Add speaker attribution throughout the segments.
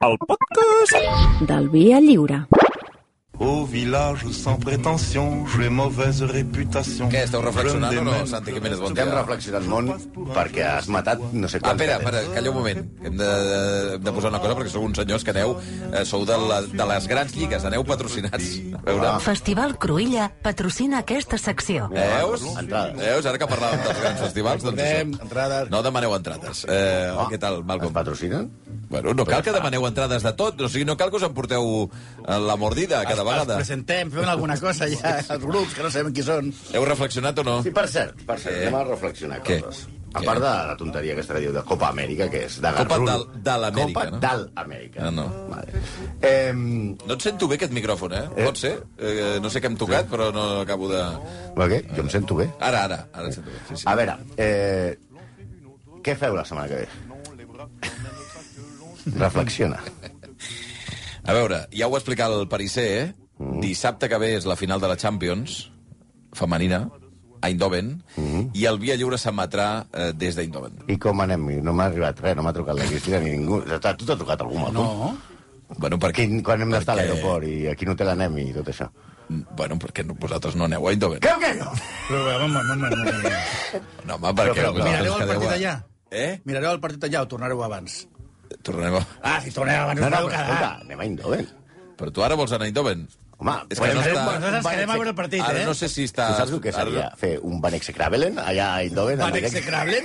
Speaker 1: el podcast.
Speaker 2: del Via Lliure.
Speaker 3: Au village sans prétention, j'ai mauvaise réputation.
Speaker 4: Què, esteu reflexionant
Speaker 3: Je me
Speaker 4: o no,
Speaker 3: démène
Speaker 4: Santi Jiménez? Bon
Speaker 3: partout.
Speaker 4: dia.
Speaker 5: Estem reflexionant molt perquè has matat no sé
Speaker 4: Ah,
Speaker 5: quant.
Speaker 4: espera, espera, calla un moment. Hem de, hem de posar una cosa, perquè sou uns senyors que aneu... Eh, sou de, la, de les grans lligues, aneu patrocinats. A
Speaker 5: Ah,
Speaker 4: veure...
Speaker 6: Festival Cruïlla patrocina aquesta secció.
Speaker 4: Veus?
Speaker 5: Entrades.
Speaker 4: Veus? Ara que parlàvem dels grans festivals, doncs això.
Speaker 5: entrades.
Speaker 4: No demaneu entrades. Eh,
Speaker 5: Ah.
Speaker 4: què tal,
Speaker 5: Es
Speaker 4: Malcolm?
Speaker 5: patrocinen?
Speaker 4: Bueno, no cal que demaneu entrades de tot, o sigui, no cal que us emporteu eh, la mordida cada vegada.
Speaker 7: presentem, fem alguna cosa ja, els grups, que no sabem qui són.
Speaker 4: Heu reflexionat o no?
Speaker 5: Sí, per cert, per cert,
Speaker 4: Què?
Speaker 5: anem a reflexionar
Speaker 4: Què?
Speaker 5: coses. A
Speaker 4: Què?
Speaker 5: part de la tonteria aquesta que diu de Copa Amèrica, que és de
Speaker 4: Copa
Speaker 5: Garrulo.
Speaker 4: del- de l'Amèrica, no?
Speaker 5: Copa del Amèrica.
Speaker 4: Ah, no.
Speaker 5: Vale. Eh,
Speaker 4: No et sento bé, aquest micròfon, eh? Pot ser? Eh, no sé què hem tocat, però no acabo de...
Speaker 5: què? Jo em sento bé.
Speaker 4: Ara, ara, ara et sento bé. Sí, sí.
Speaker 5: A veure, eh, què feu la setmana que ve? Reflexiona.
Speaker 4: A veure, ja ho ha explicat el Pariser, eh? Mm. Dissabte que ve és la final de la Champions, femenina, a Eindhoven, mm. i el Via Lliure s'emetrà eh, des d'Eindhoven.
Speaker 5: I com anem? No m'ha arribat res, no m'ha trucat la Cristina ni ningú. A Tu t'ha trucat algú, Malcom?
Speaker 7: No,
Speaker 4: Bueno, perquè...
Speaker 5: Quin, quan hem d'estar a
Speaker 4: perquè-
Speaker 5: l'aeroport i a quin hotel anem i tot això.
Speaker 4: Bueno, perquè no, vosaltres no aneu a Eindhoven.
Speaker 5: Creu que no?
Speaker 7: però home, home, home, home.
Speaker 4: No, home, perquè...
Speaker 5: Però, però,
Speaker 4: vosaltres
Speaker 7: mirareu el
Speaker 4: quedeu
Speaker 7: partit
Speaker 4: a-
Speaker 7: allà?
Speaker 4: Eh?
Speaker 7: Mirareu el partit allà o tornareu abans?
Speaker 4: Tornarem a...
Speaker 7: Ah, si torneu abans, Ah.
Speaker 5: No, no,
Speaker 7: podeu
Speaker 5: però escolta, anem a Eindhoven.
Speaker 4: Però tu ara vols anar a Eindhoven?
Speaker 5: Home,
Speaker 4: És que
Speaker 5: podem
Speaker 4: no
Speaker 5: fer
Speaker 4: està-
Speaker 5: un-
Speaker 7: Nosaltres
Speaker 5: un
Speaker 7: quedem a
Speaker 5: Banexe-
Speaker 7: veure el partit,
Speaker 4: Ara
Speaker 7: eh?
Speaker 4: no sé si està...
Speaker 5: Tu saps el que seria?
Speaker 4: Ara...
Speaker 5: Fer un Banexe Kravelen allà a Eindhoven? en
Speaker 7: Van
Speaker 5: directe?
Speaker 7: execrable?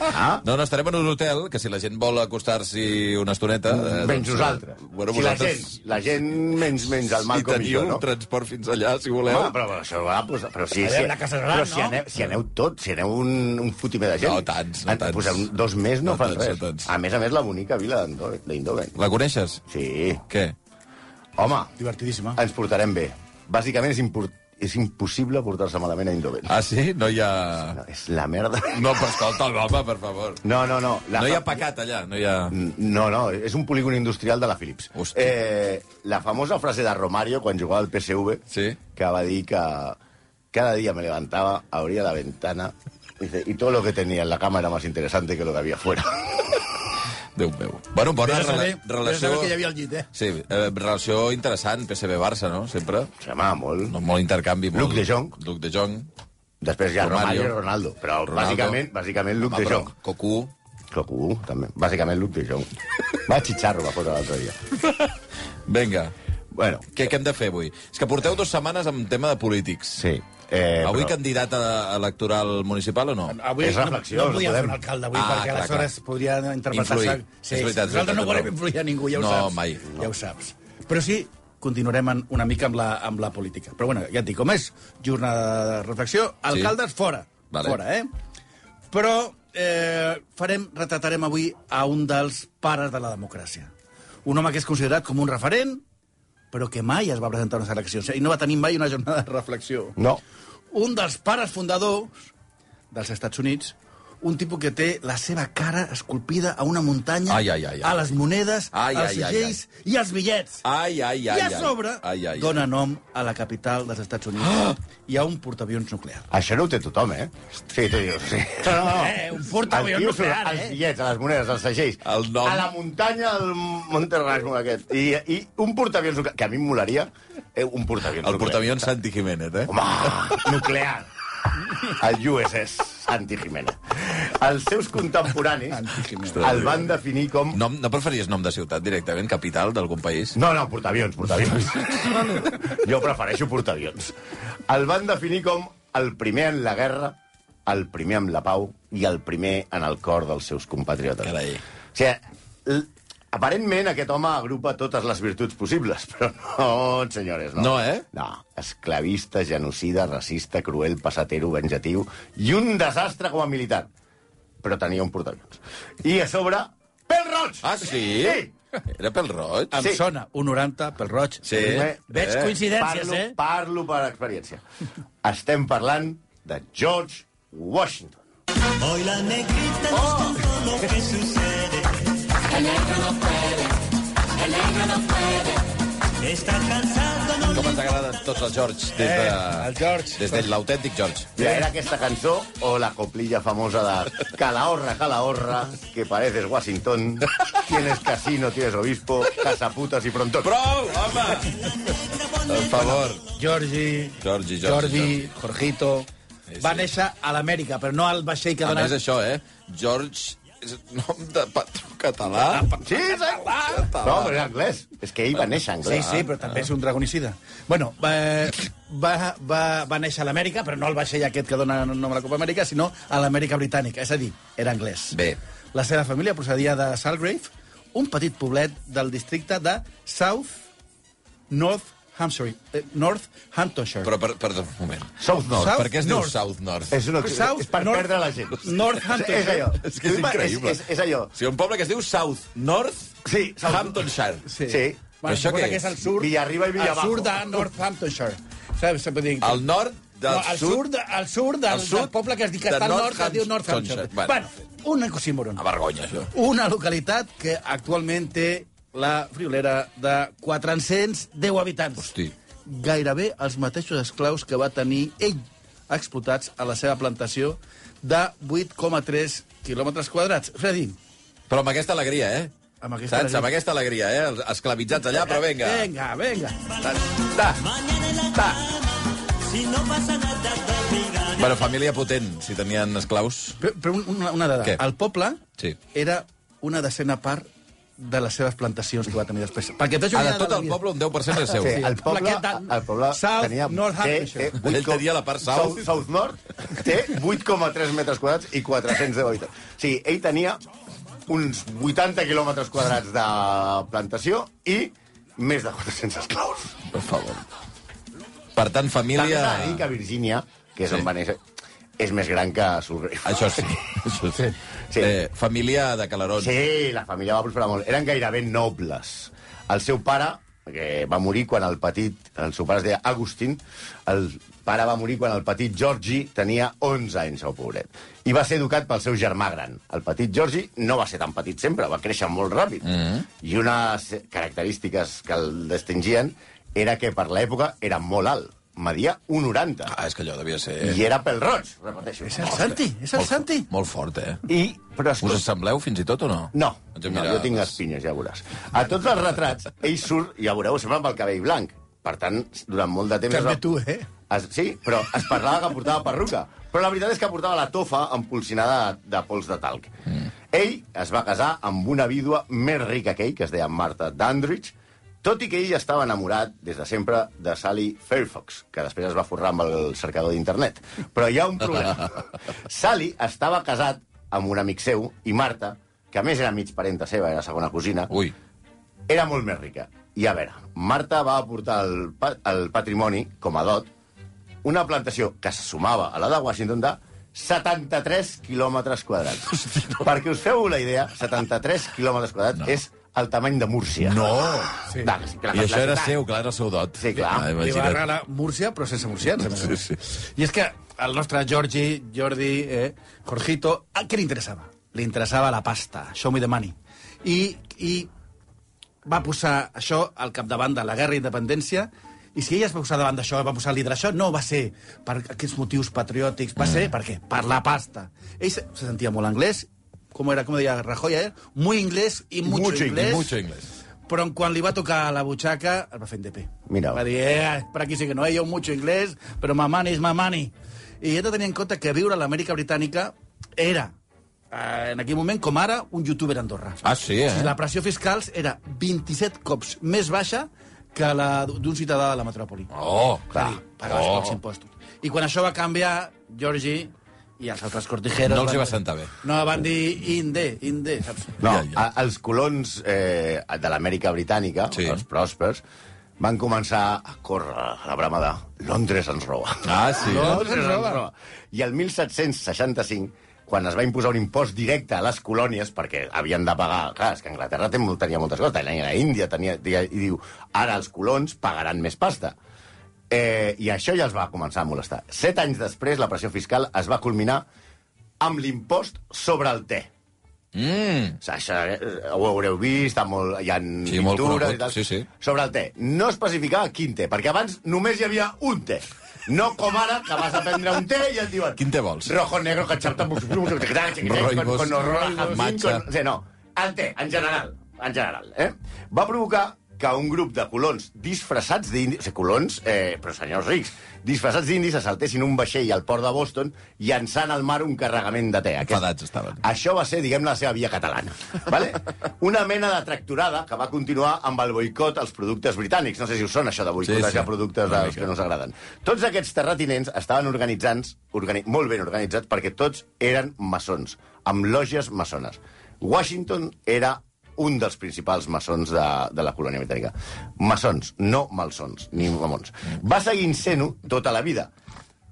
Speaker 5: Ah,
Speaker 4: No, no, estarem en un hotel, que si la gent vol acostar-s'hi una estoneta... Eh,
Speaker 5: menys nosaltres.
Speaker 4: Bueno,
Speaker 5: si la gent, la gent menys, menys el
Speaker 4: Si
Speaker 5: Malcolm i
Speaker 4: teniu
Speaker 5: jo, no?
Speaker 4: un transport fins allà, si voleu...
Speaker 5: Home, però això va, doncs, però sí,
Speaker 7: Allà
Speaker 5: sí.
Speaker 7: una casa gran,
Speaker 5: però si
Speaker 7: no?
Speaker 5: aneu, si aneu tots, si aneu un, un fotimer de gent...
Speaker 4: No tants, no
Speaker 5: En-
Speaker 4: tants.
Speaker 5: Posem dos més no,
Speaker 4: No
Speaker 5: fan
Speaker 4: tants, no
Speaker 5: res.
Speaker 4: tants.
Speaker 5: A més a més, la bonica vila d'Eindhoven- d'Eindhoven.
Speaker 4: La coneixes?
Speaker 5: Sí.
Speaker 4: Què?
Speaker 5: Home,
Speaker 7: Divertidíssima.
Speaker 5: ens portarem bé. Bàsicament és, impor és impossible portar-se malament a Eindhoven.
Speaker 4: Ah, sí? No hi ha...
Speaker 5: No, és la merda.
Speaker 4: No, però escolta, home, per favor.
Speaker 5: No, no, no. La
Speaker 4: No hi ha
Speaker 5: fa- Mm.
Speaker 4: pecat allà, no hi ha...
Speaker 5: No, no, és un polígon industrial de la Philips.
Speaker 4: Hosti.
Speaker 5: Eh, la famosa frase de Romario quan jugava al PSV,
Speaker 4: Sí.
Speaker 5: que va dir que cada día me levantaba, abría la ventana, dice, y todo lo que tenía en la cama era más interesante que lo que había fuera.
Speaker 4: Déu meu. Bueno, bona
Speaker 7: Vés a
Speaker 4: rela
Speaker 7: saber- vés a
Speaker 4: relació...
Speaker 7: saber que hi havia al llit, eh?
Speaker 4: Sí, eh, relació interessant, PSV-Barça, no? Sempre.
Speaker 5: Se llamava molt.
Speaker 4: No, molt intercanvi. Molt...
Speaker 5: Luc de Jong.
Speaker 4: Luc de Jong.
Speaker 5: Després hi ha
Speaker 4: Romario.
Speaker 5: Romario, i Ronaldo, però
Speaker 4: Ronaldo.
Speaker 5: bàsicament, bàsicament Luc
Speaker 4: Home,
Speaker 5: de
Speaker 4: però
Speaker 5: Jong.
Speaker 4: Cocu.
Speaker 5: Cocu, també. Bàsicament Luc de Jong. Va xitxar-ho, va fotre l'altre dia.
Speaker 4: Vinga.
Speaker 5: Bueno,
Speaker 4: Què, què hem de fer avui? És que porteu dues setmanes amb tema de polítics.
Speaker 5: sí. Eh,
Speaker 4: Avui
Speaker 5: però-
Speaker 4: candidat a- electoral municipal o no?
Speaker 7: Avui
Speaker 5: És reflexió,
Speaker 7: no,
Speaker 5: no
Speaker 7: no podia
Speaker 5: podem.
Speaker 7: fer un alcalde avui,
Speaker 4: Ah,
Speaker 7: ah, perquè
Speaker 4: clar,
Speaker 7: aleshores clar. podria interpretar-se...
Speaker 4: Influir. És veritat, és veritat,
Speaker 7: Nosaltres no volem
Speaker 4: no.
Speaker 7: influir a ningú, ja ho
Speaker 4: No,
Speaker 7: saps.
Speaker 4: mai.
Speaker 7: Ja ho saps. Però sí, continuarem en, una mica amb la, amb la política. Però bueno, ja et dic, com és jornada de reflexió, alcaldes fora.
Speaker 4: Vale.
Speaker 7: Fora, eh? Però eh, farem, retratarem avui a un dels pares de la democràcia. Un home que és considerat com un referent, però que mai es va presentar a unes eleccions i no va tenir mai una jornada de reflexió
Speaker 5: No.
Speaker 7: un dels pares fundadors dels Estats Units, un tipus que té la seva cara esculpida a una muntanya,
Speaker 4: Ai, ai, ai, ai.
Speaker 7: a les monedes,
Speaker 4: Ai,
Speaker 7: als
Speaker 4: ai, ai,
Speaker 7: segells i als bitllets.
Speaker 4: Ai, ai, ai.
Speaker 7: I a
Speaker 4: ai.
Speaker 7: sobre
Speaker 4: Ai, Ah! ai,
Speaker 7: dona nom a la capital dels Estats Units i a un portaavions nuclear.
Speaker 5: Això no ho té tothom, eh? Sí, tu dius, sí. No, no, no.
Speaker 7: Eh, un portaavions
Speaker 5: El tio surt
Speaker 7: nuclear,
Speaker 5: als
Speaker 7: eh?
Speaker 5: bitllets, a les monedes, als segells,
Speaker 4: El nom.
Speaker 5: a la muntanya del Monterrasmo aquest. I, I un portaavions nuclear, que a mi em molaria, eh, un portaavions
Speaker 4: El portaavions Santi Jiménez, eh?
Speaker 5: Home, nuclear. El USS Santi Jiménez. Els seus contemporanis el van definir com...
Speaker 4: No, no preferies nom de ciutat directament, capital d'algun país?
Speaker 5: No, no, portaavions, portaavions. Jo prefereixo portaavions. El van definir com el primer en la guerra, el primer amb la pau i el primer en el cor dels seus compatriotes.
Speaker 4: Carai.
Speaker 5: O sigui, l- aparentment aquest home agrupa totes les virtuts possibles, però no, senyores, no.
Speaker 4: No, eh?
Speaker 5: No, esclavista, genocida, racista, cruel, passatero, venjatiu i un desastre com a militar. Però tenia un portaavions. I a sobre, pèl roig!
Speaker 4: Ah, sí? Era pel roig?
Speaker 7: Em
Speaker 5: Sí.
Speaker 7: sona un 90 pel roig.
Speaker 4: Sí.
Speaker 5: primer-
Speaker 7: Veig
Speaker 4: Eh,
Speaker 7: coincidències,
Speaker 5: parlo,
Speaker 7: eh?
Speaker 5: Parlo per experiència. Estem parlant de George Washington.
Speaker 4: Com ens agraden tots els George des de...
Speaker 1: Eh, el George.
Speaker 4: Des de l'autèntic George.
Speaker 5: Mira, era aquesta cançó o la coplilla famosa de Calahorra, Calahorra, que pareces Washington, tienes casino, tienes obispo, casaputas y pronto.
Speaker 4: Prou, home! Per favor.
Speaker 1: Georgi,
Speaker 4: Georgi, Georgi,
Speaker 1: Jordi, Jorgito...
Speaker 7: Va néixer a l'Amèrica, però no al vaixell que
Speaker 4: A
Speaker 7: donava...
Speaker 4: més, això, eh? George és nom de patró català.
Speaker 5: Sí, és
Speaker 7: Ah,
Speaker 5: anglès. No, però era anglès. És que ell va néixer
Speaker 7: Sí,
Speaker 5: anglès.
Speaker 7: sí, però també és un dragonicida. Bueno, eh, va, va, va néixer a l'Amèrica, però no al vaixell aquest que dona nom a la Copa Amèrica, sinó a l'Amèrica Britànica, és a dir, era anglès.
Speaker 4: Bé.
Speaker 7: La seva família procedia de Salgrave, un petit poblet del districte de South North Hampshire, eh, North Hamptonshire.
Speaker 4: Però, per, perdó, un moment.
Speaker 5: South North.
Speaker 7: South
Speaker 4: per què es diu
Speaker 7: North.
Speaker 4: South North?
Speaker 5: És, una...
Speaker 7: South
Speaker 5: és per
Speaker 7: North-
Speaker 5: perdre la gent.
Speaker 7: North Hampton.
Speaker 5: És allò.
Speaker 4: És que és increïble.
Speaker 5: És, és, és allò.
Speaker 4: Si un poble que es diu South North
Speaker 5: Sí, South-
Speaker 4: Hamptonshire.
Speaker 5: Sí. sí.
Speaker 4: Però això
Speaker 7: suposa
Speaker 4: què
Speaker 7: que
Speaker 4: és?
Speaker 7: és? el sud,
Speaker 5: Villarriba i Villabajo.
Speaker 7: El sud de Northamptonshire. Saps? Se pot dir...
Speaker 4: Al nord del
Speaker 7: no, al
Speaker 4: sud...
Speaker 7: sud, al sud del,
Speaker 4: Al sud
Speaker 7: del poble que es diu que
Speaker 4: de
Speaker 7: està al nord, que
Speaker 4: Northam-
Speaker 7: es diu Northamptonshire.
Speaker 4: Sonshire. Bueno.
Speaker 7: Bueno, un oxímoron.
Speaker 4: A vergonya, això.
Speaker 7: Una localitat que actualment té la friolera de 410 habitants.
Speaker 4: Hosti.
Speaker 7: Gairebé els mateixos esclaus que va tenir ell explotats a la seva plantació de 8,3 quilòmetres quadrats. És a dir,
Speaker 4: Però amb aquesta alegria, eh?
Speaker 7: Amb aquesta
Speaker 4: Saps?
Speaker 7: alegria.
Speaker 4: Amb aquesta alegria, eh? Els esclavitzats allà, però vinga.
Speaker 7: Vinga, vinga.
Speaker 4: Ta, ta, ta. Bueno, família potent, si tenien esclaus.
Speaker 7: Però, però un- una, una dada.
Speaker 4: Què?
Speaker 7: El poble
Speaker 4: Sí.
Speaker 7: era una decena part de les seves plantacions que va tenir després. Perquè tot,
Speaker 4: Ah, de tot el poble, un 10% és seu.
Speaker 5: Sí, el poble,
Speaker 7: Aquest del-
Speaker 5: el poble
Speaker 7: South
Speaker 5: tenia...
Speaker 7: North Hampshire.
Speaker 5: té vuit
Speaker 4: Ell tenia la part south.
Speaker 5: South, south North té 8,3 metres quadrats i 410 habitants. O sigui, ell tenia uns 80 quilòmetres quadrats de plantació i més de 400 esclaus.
Speaker 4: Per favor. Per tant,
Speaker 5: També
Speaker 4: família...
Speaker 5: s'ha de dir que Virgínia, que és
Speaker 4: Sí.
Speaker 5: on va néixer, és més gran que Surgrave.
Speaker 4: Això sí. Això sí.
Speaker 5: Sí.
Speaker 4: Eh, família de Calarons.
Speaker 5: Sí, la família va prosperar molt. Eren gairebé nobles. El seu pare, que va morir quan el petit... El seu pare es deia Agustín. El pare va morir quan el petit Georgi tenia 11 anys, el pobret. I va ser educat pel seu germà gran. El petit Georgi no va ser tan petit sempre, va créixer molt ràpid. Mm -hmm. I unes característiques que el distingien era que per l'època era molt alt. Media 1,90.
Speaker 4: Ah, és que allò devia ser...
Speaker 5: I era pel roig, repeteixo.
Speaker 7: És el Santi, és el
Speaker 4: molt,
Speaker 7: Santi.
Speaker 4: Molt fort, eh?
Speaker 5: I, però és
Speaker 4: Us sembleu fins i tot o no?
Speaker 5: No,
Speaker 4: Ens
Speaker 5: no
Speaker 4: hem
Speaker 5: jo
Speaker 4: mirat.
Speaker 5: tinc les pinyes, ja veuràs. A tots els retrats, ell surt, ja veureu, sempre amb el cabell blanc. Per tant, durant molt de temps...
Speaker 7: També
Speaker 5: es va-
Speaker 7: tu, eh?
Speaker 5: Es, sí, però es parlava que portava perruca. Però la veritat és que portava la tofa empolsinada de, de pols de talc. Mm. Ell es va casar amb una vídua més rica que ell, que es deia Martha Dandridge, tot i que ell estava enamorat des de sempre de Sally Fairfox, que després es va forrar amb el cercador d'internet. Però hi ha un problema. Sally estava casat amb un amic seu, i Marta, que a més era mig parenta seva, era segona cosina,
Speaker 4: Ui,
Speaker 5: era molt més rica. I a veure, Marta va aportar el, pa el patrimoni, com a dot, una plantació que se sumava a la de Washington de 73 quilòmetres quadrats. Perquè us feu la idea, 73 quilòmetres quadrats no. és el tamany de Múrcia. No! Sí. Clar, que sí, clar,
Speaker 4: i això era
Speaker 5: clar.
Speaker 4: seu, clar, era el seu dot.
Speaker 5: Sí, clar.
Speaker 4: Ah,
Speaker 7: Li va
Speaker 4: imagina't.
Speaker 7: regalar Múrcia, però sense murcians. a més a més.
Speaker 4: Sí,
Speaker 7: I és que el nostre Jordi, Jordi, eh, Jorgito, a què li interessava? Li interessava la pasta, show me the money. I, i va posar això al capdavant de la guerra i independència, i si ella es va posar davant d'això, va posar líder això, no va ser per aquests motius patriòtics,
Speaker 4: Mm.
Speaker 7: va ser per què? Per la pasta. Ell se, se sentia molt anglès, com era, com deia Rajoy, eh? Muy inglés i mucho,
Speaker 4: Mucho inglés,
Speaker 7: inglés.
Speaker 4: mucho inglés.
Speaker 7: Però en quan li va tocar a la butxaca, es va fer en DP.
Speaker 5: Mira.
Speaker 7: Va dir, eh, per aquí sí que no, eh, jo mucho inglés, però my money is my money. I he de tenir en compte que viure a l'Amèrica Britànica era, eh, en aquell moment, com ara, un youtuber a Andorra.
Speaker 4: Ah, sí,
Speaker 7: O sigui,
Speaker 4: eh?
Speaker 7: La pressió fiscal era 27 cops més baixa que la d'un ciutadà de la metròpoli.
Speaker 4: Oh, clar.
Speaker 7: Clar, pagaves
Speaker 4: Oh.
Speaker 7: pocs impostos. I quan això va canviar, Georgi i els altres cortijeros...
Speaker 4: No els hi va
Speaker 7: van-
Speaker 4: sentar bé.
Speaker 7: No, van dir inde, inde, saps?
Speaker 5: No,
Speaker 4: Ja, ja.
Speaker 5: a, els colons eh, de l'Amèrica Britànica,
Speaker 4: Sí.
Speaker 5: sí. els pròspers, van començar a córrer a la brama de Londres ens roba.
Speaker 4: Ah, sí.
Speaker 5: No, no, no, no. I el 1765, quan es va imposar un impost directe a les colònies, perquè havien de pagar... Clar, és que Anglaterra té, molt- tenia moltes coses, tenia la Índia, tenia, tenia, i diu, ara els colons pagaran més pasta. Eh, I això ja els va començar a molestar. Set anys després, la pressió fiscal es va culminar amb l'impost sobre el te.
Speaker 4: Mm.
Speaker 5: Sasha, eh, ho haureu vist, ha molt, hi ha
Speaker 4: Sí, molt
Speaker 5: pintures
Speaker 4: conegut,
Speaker 5: i tal.
Speaker 4: sí, sí.
Speaker 5: Sobre el te, no especificar quin te, perquè abans només hi havia un te. No com ara, que vas a prendre un te i et diuen...
Speaker 4: Quin te vols?
Speaker 5: Rojo, negro, cachapta,
Speaker 4: Roibos,
Speaker 5: con, con horror, jazmín,
Speaker 4: matcha.
Speaker 5: con... Sí, no, el te, en general, en general. Eh? Va provocar que un grup de colons disfressats d'indis... Colons, eh, però senyors rics, disfressats d'indis assaltessin un vaixell al port de Boston llançant al mar un carregament de te. Aquest- Ah.
Speaker 4: Enfadats estaven.
Speaker 5: això va ser, diguem, la seva via catalana. Vale? Una mena de tracturada que va continuar amb el boicot als productes britànics. No sé si us són això de
Speaker 4: Sí,
Speaker 5: boicotejar sí,
Speaker 4: sí.
Speaker 5: sí. productes
Speaker 4: Una
Speaker 5: dels
Speaker 4: mica.
Speaker 5: que no ens agraden. Tots aquests terratinents estaven organitzats, organi molt ben organitzats, perquè tots eren maçons, amb lògies maçones. Washington era un dels principals maçons de, de la colònia britànica. Maçons, no malsons, ni mamons.
Speaker 4: Mm.
Speaker 5: Va seguir sent-ho tota la vida.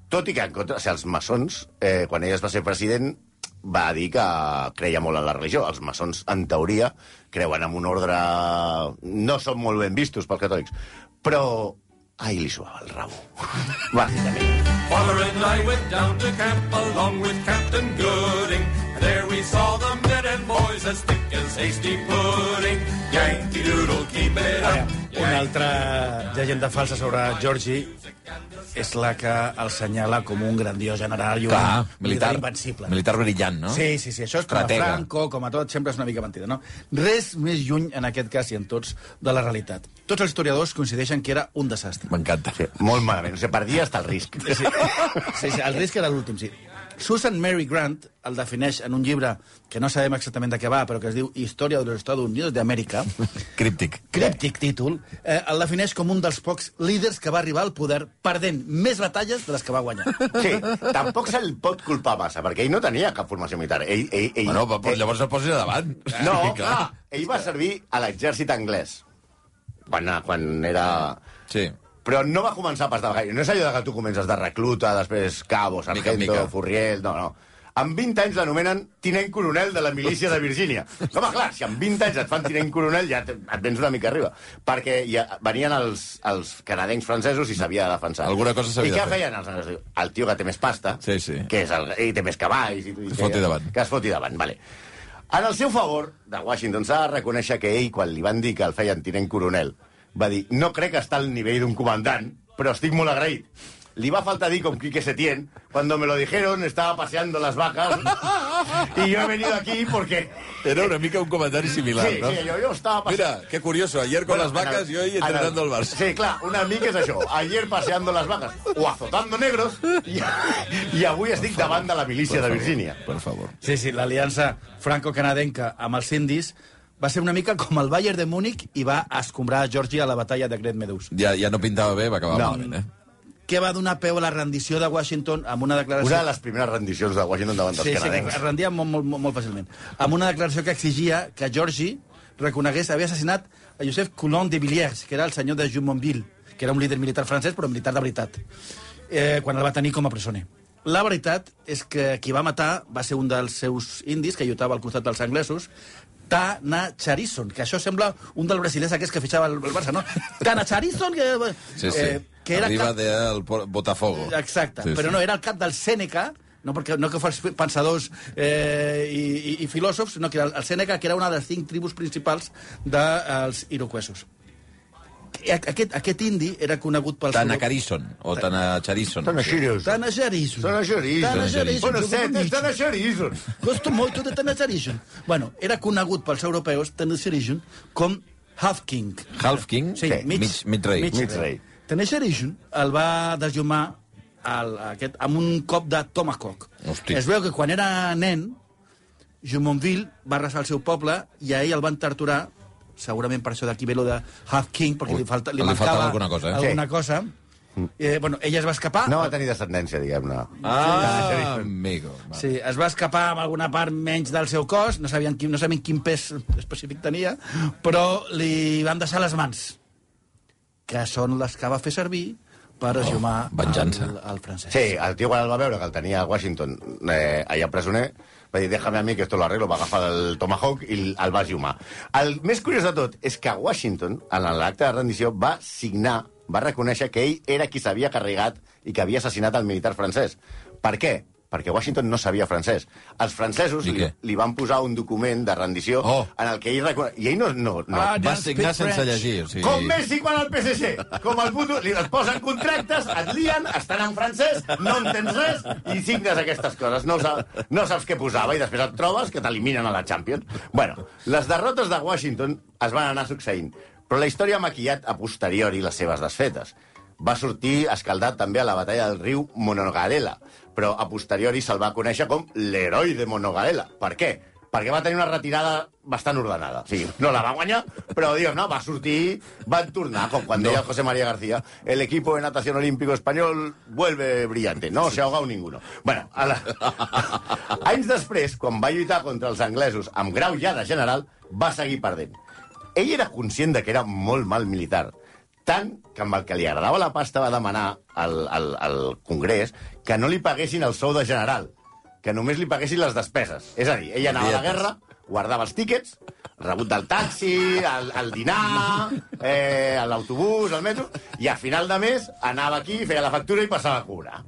Speaker 5: Tot i que en contra... O sigui, els maçons, eh, quan ell es va ser president, va dir que creia molt en la religió. Els maçons, en teoria, creuen en un ordre... No són molt ben vistos pels catòlics. Però... Ai, li suava el rabo. Bàsicament.
Speaker 2: Father and I went down to camp along with Captain Gooding. And there we saw the men and boys as thick as hasty pudding. Yankee Doodle, keep it up.
Speaker 7: Una altra llegenda falsa sobre Georgi és la que el senyala com un grandiós general i un
Speaker 4: Clar, militar,
Speaker 7: invencible.
Speaker 4: militar brillant, no?
Speaker 7: Sí, sí, sí, això és com
Speaker 4: Estratega.
Speaker 7: a Franco, com a tot, sempre és una mica mentida, no? Res més lluny, en aquest cas i en tots, de la realitat. Tots els historiadors coincideixen que era un desastre.
Speaker 4: M'encanta.
Speaker 5: Sí, molt malament. O sigui, perdia hasta el risc.
Speaker 7: Sí, sí, sí, el risc era l'últim, sí. Susan Mary Grant el defineix en un llibre que no sabem exactament de què va, però que es diu Història dels Estats Units d'Amèrica,
Speaker 4: Críptic.
Speaker 7: críptic títol, eh, el defineix com un dels pocs líders que va arribar al poder perdent més batalles de les que va guanyar.
Speaker 5: Sí, tampoc se'l pot culpar massa, perquè ell no tenia cap formació militar. Ell, ell, ell,
Speaker 4: Bueno, però, però llavors no posis a davant.
Speaker 5: eh, No,
Speaker 4: Sí,
Speaker 5: clar, ell va servir a l'exèrcit anglès. Quan, quan era...
Speaker 4: Sí.
Speaker 5: Però no va començar pas de gaire. No és allò de que tu comences de recluta, després cabo, sargento,
Speaker 4: Mica
Speaker 5: mica,
Speaker 4: en mica.
Speaker 5: mica. furriel... No, no. Amb 20 anys l'anomenen tinent coronel de la milícia de Virgínia. Home, clar, si amb 20 anys et fan tinent coronel ja te- et vens una mica arriba. Perquè ja venien els, els canadencs francesos i s'havia de defensar.
Speaker 4: Alguna cosa s'havia
Speaker 5: I
Speaker 4: de
Speaker 5: què
Speaker 4: fer.
Speaker 5: feien els anglesos? El tio que té més pasta,
Speaker 4: Sí, sí.
Speaker 5: que és el, i té més cavalls... I, i
Speaker 4: es foti davant.
Speaker 5: Que es foti davant, vale. En el seu favor, de Washington, s'ha de reconèixer que ell, quan li van dir que el feien tinent coronel, va dir, no crec que està al nivell d'un comandant, però estic molt agraït. Li va faltar dir com Quique Setién, cuando me lo dijeron estaba paseando las vacas y yo he venido aquí porque...
Speaker 4: Era una mica un comentari similar,
Speaker 5: Sí,
Speaker 4: no?
Speaker 5: sí, yo, yo estaba paseando...
Speaker 4: Mira, qué curioso, ayer con las vacas y hoy entrenando al Barça.
Speaker 5: Sí, clar, una mica és això. Ayer paseando las vacas o azotando negros i, i avui estic davant de la milícia de Virgínia.
Speaker 4: Por favor.
Speaker 7: Sí, sí, l'aliança franco-canadenca amb els indis va ser una mica com el Bayern de Múnich i va escombrar a Georgia a la batalla de Great Meadows.
Speaker 4: Ja, ja no pintava bé, va acabar no. malament, eh?
Speaker 7: que va donar peu a la rendició de Washington amb una declaració...
Speaker 5: Una de les primeres rendicions de Washington davant dels
Speaker 7: Sí, sí, que
Speaker 5: canadencs.
Speaker 7: es rendia molt, molt, molt, molt fàcilment. Amb una declaració que exigia que Georgi reconegués haver assassinat a Joseph Coulon de Villiers, que era el senyor de Jumonville, que era un líder militar francès, però militar de veritat, eh, quan el va tenir com a presoner. La veritat és que qui va matar va ser un dels seus indis, que lluitava al costat dels anglesos, Tana Charison, que això sembla un dels brasilers aquests que fitxava el, el Barça, no? Tana Charison, que...
Speaker 4: Sí, sí.
Speaker 7: eh,
Speaker 4: que era Arriba
Speaker 7: cap-
Speaker 4: del por- Botafogo.
Speaker 7: Exacte,
Speaker 4: Sí, sí.
Speaker 7: però no, era el cap del Sèneca, no, perquè, no que fos pensadors eh, i, i, i filòsofs, sinó que era el, el Sèneca, que era una de les cinc tribus principals dels iroquesos. A- Aquest, aquest indi era conegut pel...
Speaker 4: Tana Carison, o Tana Charison.
Speaker 5: Són aixirios.
Speaker 7: Tanajarisun.
Speaker 5: Són aixirios.
Speaker 4: Tanajarisun.
Speaker 5: Bueno, set, estan aixirios.
Speaker 7: Gosto molt de Tanajarisun. Bueno, era conegut pels europeus, Tanajarisun, com Half King.
Speaker 4: Half King,
Speaker 7: Sí,
Speaker 4: mig, mig, mig rei.
Speaker 5: mig- rei.
Speaker 7: Tanejarisun el va desllumar el, aquest, amb un cop de tomahawk.
Speaker 4: Hosti.
Speaker 7: Es veu que quan era nen, Jumonville va arrasar el seu poble i a ell el van torturar, segurament per això d'aquí ve lo de Half King, perquè
Speaker 4: Ui,
Speaker 7: li, falta, li,
Speaker 4: li
Speaker 7: mancava
Speaker 4: faltava alguna cosa, eh?
Speaker 7: alguna cosa. Eh, bueno, ella es va escapar.
Speaker 5: No va tenir descendència, diguem-ne.
Speaker 4: Ah, amigo. Va.
Speaker 7: Sí, es va escapar amb alguna part menys del seu cos, no sabien quin, no sabien quin pes específic tenia, però li van deixar les mans, que són les que va fer servir per
Speaker 5: Oh,
Speaker 7: ajumar
Speaker 4: venjança.
Speaker 7: el, el francès.
Speaker 5: Sí, el tio quan el va veure, que el tenia a Washington eh, allà presoner, va dir, déjame a mi que esto lo arreglo, va agafar el Tomahawk i el va ajumar. El més curiós de tot és que Washington, en l'acte de rendició, va signar, va reconèixer que ell era qui s'havia carregat i que havia assassinat el militar francès. Per què? perquè Washington no sabia francès. Els francesos
Speaker 4: I
Speaker 5: li,
Speaker 4: què?
Speaker 5: li van posar un document de rendició
Speaker 4: Oh.
Speaker 5: en el que ell... recone- I ell no... no, no.
Speaker 7: Ah,
Speaker 4: Va
Speaker 7: Don't speak
Speaker 4: signar sense
Speaker 7: French.
Speaker 4: llegir. O sigui...
Speaker 5: Com Messi quan al PSG. Com el puto... Li et posen contractes, et lien, estan en francès, no entens res i signes aquestes coses. No, sa- no saps què posava i després et trobes que t'eliminen a la Champions. Bueno, les derrotes de Washington es van anar succeint, però la història ha maquillat a posteriori les seves desfetes. Va sortir escaldat també a la batalla del riu Monogarela, però a posteriori se'l va conèixer com l'heroi de Monogarela. Per què? perquè va tenir una retirada bastant ordenada. O sigui, no la va guanyar, però diguem, no, va sortir, va tornar, com quan deia José María García, el equipo de natación olímpico español vuelve brillante, no se ha ahogado ninguno. Bueno, a la... anys després, quan va lluitar contra els anglesos amb grau ja de general, va seguir perdent. Ell era conscient de que era molt mal militar, tant que amb el que li agradava la pasta va demanar al, al, al Congrés que no li paguessin el sou de general, que només li paguessin les despeses. És a dir, ell anava a la
Speaker 4: Dietes.
Speaker 5: guerra, guardava els tíquets, el rebut del taxi, el, el dinar, eh, l'autobús, el metro, i a final de mes anava aquí, feia la factura i passava a cobrar.